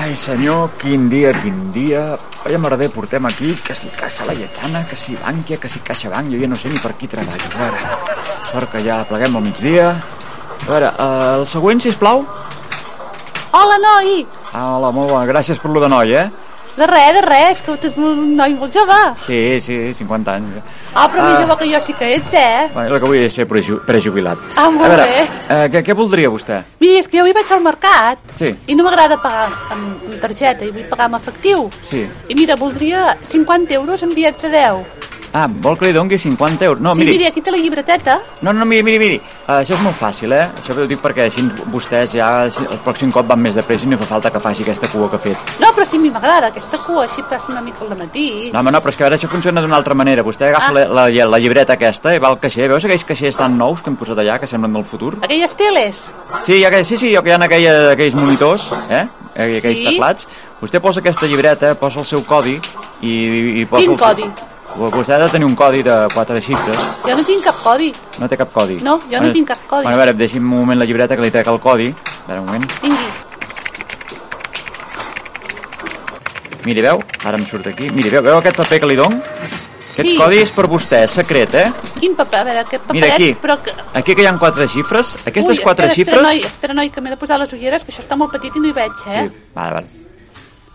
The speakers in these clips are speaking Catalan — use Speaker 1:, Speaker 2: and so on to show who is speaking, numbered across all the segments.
Speaker 1: Ai, senyor, quin dia, quin dia. Vaya merder, portem aquí, que si Caixa la Lletana, que si Bànquia, que si CaixaBank, jo ja no sé ni per qui treballo. A veure, sort que ja pleguem al migdia. A veure, eh, el següent, si plau.
Speaker 2: Hola, noi!
Speaker 1: Hola, molt bona, gràcies per lo de noi, eh?
Speaker 2: De res, de res, que tu ets un noi molt jove.
Speaker 1: Sí, sí, 50 anys.
Speaker 2: Ah, però més
Speaker 1: Ah.
Speaker 2: jove que jo sí que ets, eh?
Speaker 1: Bueno, jo el que vull és ser preju- prejubilat.
Speaker 2: Ah, molt
Speaker 1: a veure,
Speaker 2: bé.
Speaker 1: Eh, què, què voldria vostè?
Speaker 2: Mira, és que jo avui vaig al mercat
Speaker 1: Sí.
Speaker 2: i no m'agrada pagar amb amb targeta, i vull pagar amb efectiu.
Speaker 1: Sí.
Speaker 2: I mira, voldria 50 euros en bitllets de 10.
Speaker 1: Ah, vol que li dongui 50 euros? No,
Speaker 2: sí,
Speaker 1: Ah, miri,
Speaker 2: mira, aquí té la llibreteta.
Speaker 1: No, no, miri, miri, miri. Uh, això és molt fàcil, eh? Això ho dic perquè així vostès ja així, el pròxim cop van més de pressa i no fa falta que faci aquesta cua que ha fet.
Speaker 2: No, però sí, a mi m'agrada, aquesta cua així passa una mica al matí.
Speaker 1: No, home, no, però és que ara això funciona d'una altra manera. Vostè agafa
Speaker 2: Ah.
Speaker 1: la, la, la, llibreta aquesta i va al caixer. Veus aquells caixers tan nous que hem posat allà, que semblen del futur?
Speaker 2: Aquelles teles.
Speaker 1: Sí, hi ha, aquell- sí, sí, hi ha aquella, aquells monitors, eh? I Aquells
Speaker 2: Sí.
Speaker 1: teclats. Vostè posa aquesta llibreta, posa el seu codi i... i posa
Speaker 2: Quin
Speaker 1: el...
Speaker 2: codi?
Speaker 1: Vostè ha de tenir un codi de quatre xifres.
Speaker 2: Jo no tinc cap codi.
Speaker 1: No té cap codi? Eh,
Speaker 2: No, jo no tinc cap codi.
Speaker 1: Bueno, a veure, deixi'm un moment la llibreta que li trec el codi. A veure, un moment.
Speaker 2: Tingui.
Speaker 1: Miri, veu? Ara em surt aquí. Miri, veu, veu aquest paper que li dono? Aquest
Speaker 2: Sí.
Speaker 1: codi és per vostè, és secret, eh?
Speaker 2: Quin paper? A veure, aquest paperet,
Speaker 1: Mira, aquí.
Speaker 2: però... Que...
Speaker 1: Aquí que hi ha quatre xifres. Aquestes
Speaker 2: Ui,
Speaker 1: quatre
Speaker 2: espera,
Speaker 1: xifres...
Speaker 2: Espera, noi, espera, noi, que m'he de posar les ulleres, que això està molt petit i no hi veig, eh?
Speaker 1: Sí, vale, vale.
Speaker 2: Sí.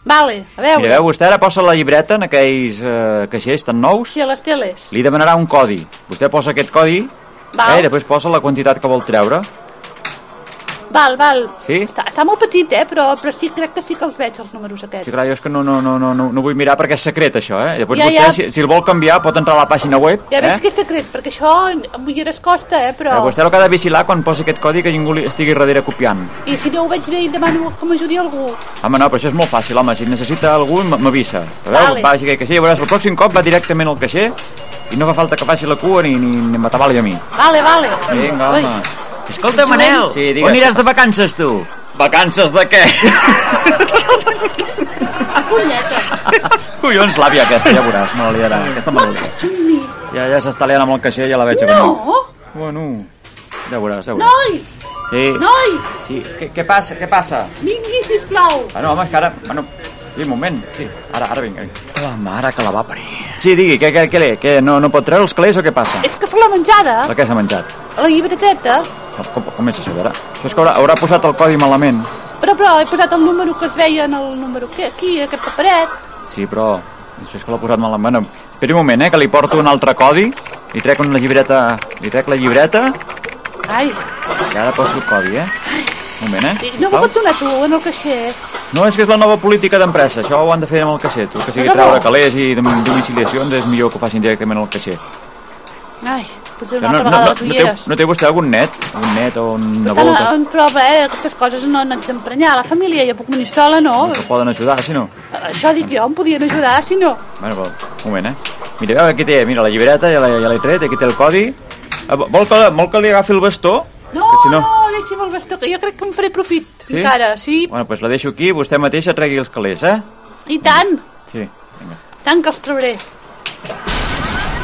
Speaker 2: Vale, a veure.
Speaker 1: Mira, veu, vostè ara posa la llibreta en aquells eh, caixers tan nous.
Speaker 2: Sí, a les teles.
Speaker 1: Li demanarà un codi. Vostè posa aquest codi
Speaker 2: Val.
Speaker 1: eh, i després posa la quantitat que vol treure.
Speaker 2: Val, val.
Speaker 1: Sí?
Speaker 2: Està, està molt petit, eh? Però, però sí, crec que sí que els veig, els números aquests.
Speaker 1: Sí, clar, jo és que no, no, no, no, no no vull mirar perquè és secret, això, eh? Llavors
Speaker 2: Ja,
Speaker 1: vostè,
Speaker 2: ja.
Speaker 1: Si, si el vol canviar, pot entrar a la pàgina web,
Speaker 2: Ja veig
Speaker 1: eh?
Speaker 2: que és secret, perquè això amb ulleres costa, eh? Però...
Speaker 1: Eh, Vostè el que ha de vigilar quan posi aquest codi que ningú li estigui darrere copiant.
Speaker 2: I si no ho veig bé i demano que m'ajudi algú.
Speaker 1: Home, no, però això és molt fàcil, home. Si necessita algú, m- m'avisa. A veure,
Speaker 2: Vale.
Speaker 1: vagi al caixer, ja veuràs, el pròxim cop va directament al caixer i no fa falta que faci la cua ni, ni, ni m'atabali a mi.
Speaker 2: Vale, vale.
Speaker 1: Vinga,
Speaker 2: Ui.
Speaker 1: home. Escolta,
Speaker 2: Manel,
Speaker 1: sí, on aniràs de vacances, tu? Vacances de què?
Speaker 2: A punyeta.
Speaker 1: Collons, l'àvia aquesta, ja veuràs, me la liarà. Aquesta maluca. Ja, ja s'està liant amb el caixer, ja la veig. a venir.
Speaker 2: No,
Speaker 1: Bueno, ja veuràs, ja veuràs.
Speaker 2: noi,
Speaker 1: Sí.
Speaker 2: noi,
Speaker 1: Sí, què, què passa, què passa?
Speaker 2: vingui, sisplau.
Speaker 1: Ah, no, home, és que ara... Bueno, sí, un moment, sí. Ara, ara vinc. La mare que la va parir. Sí, digui, què, què, què, li- què no, no pot treure els calés o què passa?
Speaker 2: És que se l'ha menjada,
Speaker 1: La que s'ha menjat.
Speaker 2: la llibreteta,
Speaker 1: Com, com, com és això, a veure? Això és que haurà, haurà posat el codi malament.
Speaker 2: però, però he posat el número que es veia en el número que aquí, aquest paperet.
Speaker 1: Sí, però... Això és que l'ha posat malament. Bueno, esperi un moment, eh, que li porto un altre codi. Li trec una llibreta... Li trec la llibreta
Speaker 2: Ai,
Speaker 1: i ara poso el codi, eh? Un moment, eh?
Speaker 2: no m'ho
Speaker 1: Sisplau.
Speaker 2: pots donar tu, en el caixer.
Speaker 1: No, és que és la nova política d'empresa. Això ho han de fer amb el caixer. Tu, que sigui
Speaker 2: De debò?
Speaker 1: treure calés i dom- domiciliacions, és millor que ho facin directament al caixer.
Speaker 2: Ai, potser
Speaker 1: Que
Speaker 2: una altra
Speaker 1: no,
Speaker 2: vegada
Speaker 1: no,
Speaker 2: les
Speaker 1: no, té,
Speaker 2: ulleres.
Speaker 1: no té vostè algun net? Un net o una
Speaker 2: Però
Speaker 1: volta?
Speaker 2: on prova, eh? Aquestes coses no n'haig d'emprenyar. La família ja puc venir sola, no?
Speaker 1: Que poden ajudar, si no?
Speaker 2: Això dic jo, em podien ajudar, si no.
Speaker 1: Bueno, però, un moment, eh? Mira, veu, aquí té, mira, la llibreta, ja l'he ja l'he tret, aquí té el codi. Ah, vo- Vol que, vol que li agafi el bastó?
Speaker 2: No,
Speaker 1: Que si
Speaker 2: no, deixi'm el bastó, que jo crec que em faré profit, encara, sí.
Speaker 1: Bueno, doncs pues la deixo aquí, vostè mateixa tregui els calés, eh?
Speaker 2: I tant,
Speaker 1: Sí. Vinga.
Speaker 2: tant que els trauré.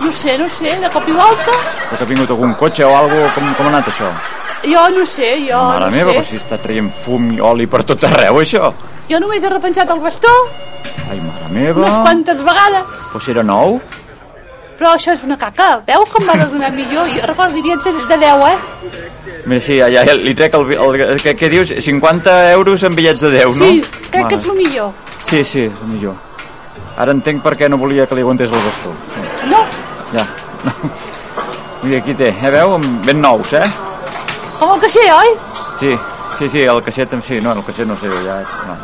Speaker 2: no sé, no sé, de cop i volta,
Speaker 1: Però que ha vingut algun cotxe o alguna com, com ha anat això?
Speaker 2: jo no sé, jo
Speaker 1: Mare
Speaker 2: Oh, no
Speaker 1: meva, però
Speaker 2: sé.
Speaker 1: si està traient fum i oli per tot arreu, això.
Speaker 2: Jo només he repensat el bastó
Speaker 1: Ah. Ai, mare meva.
Speaker 2: unes quantes vegades,
Speaker 1: Però si era nou?
Speaker 2: però això és una caca. Veu com m'ha de donar millor? Jo recordo, hi havia de, de 10, eh?
Speaker 1: Mira, sí, ja, ja li trec el... el, el què, què dius? 50 euros en bitllets de 10, no?
Speaker 2: Sí, crec que és el millor.
Speaker 1: Sí, sí, és el millor. Ara entenc per què no volia que li aguantés el bastó. Sí,
Speaker 2: No,
Speaker 1: Ja. Mira, aquí té. Eh, veu? Ben nous, eh?
Speaker 2: com el caixer, oi?
Speaker 1: Sí, sí, sí, el caixet... Sí, no, el caixet no sé, ja... No.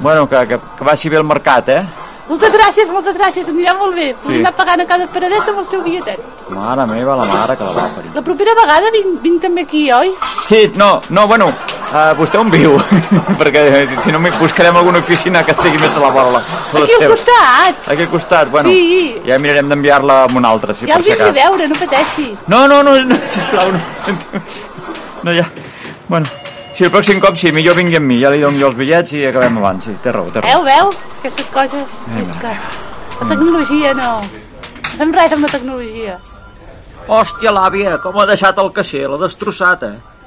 Speaker 1: Bueno, que, que, que vagi bé el mercat, eh?
Speaker 2: Moltes gràcies, moltes gràcies, anirà molt bé.
Speaker 1: Sí.
Speaker 2: Sí. anar pagant a cada paradeta amb el seu bitlletet.
Speaker 1: Mare meva, la mare que la va parir.
Speaker 2: La propera vegada vinc, vinc també aquí, oi?
Speaker 1: Sí, no, no, bueno, Uh, vostè on viu? Perquè eh, si no, mi- buscarem alguna oficina que estigui més a la vora. La, la
Speaker 2: Aquí al
Speaker 1: seva.
Speaker 2: costat.
Speaker 1: Aquí al costat, bueno.
Speaker 2: Sí.
Speaker 1: Ja mirarem d'enviar-la a un altre, si
Speaker 2: Ja
Speaker 1: per
Speaker 2: els
Speaker 1: si
Speaker 2: hi he de
Speaker 1: cas.
Speaker 2: veure, no pateixi.
Speaker 1: No, no, no, no, sisplau, no. No, ja. Bueno, si el pròxim cop sí, millor vingui amb mi. Ja li dono jo els bitllets i acabem abans. Sí, té raó, té raó.
Speaker 2: Veu, veu? Aquestes coses.
Speaker 1: Ai,
Speaker 2: És
Speaker 1: mare
Speaker 2: que la tecnologia no. No fem res amb la tecnologia.
Speaker 3: Hòstia, l'àvia, com ha deixat el caixer, l'ha destrossat, eh?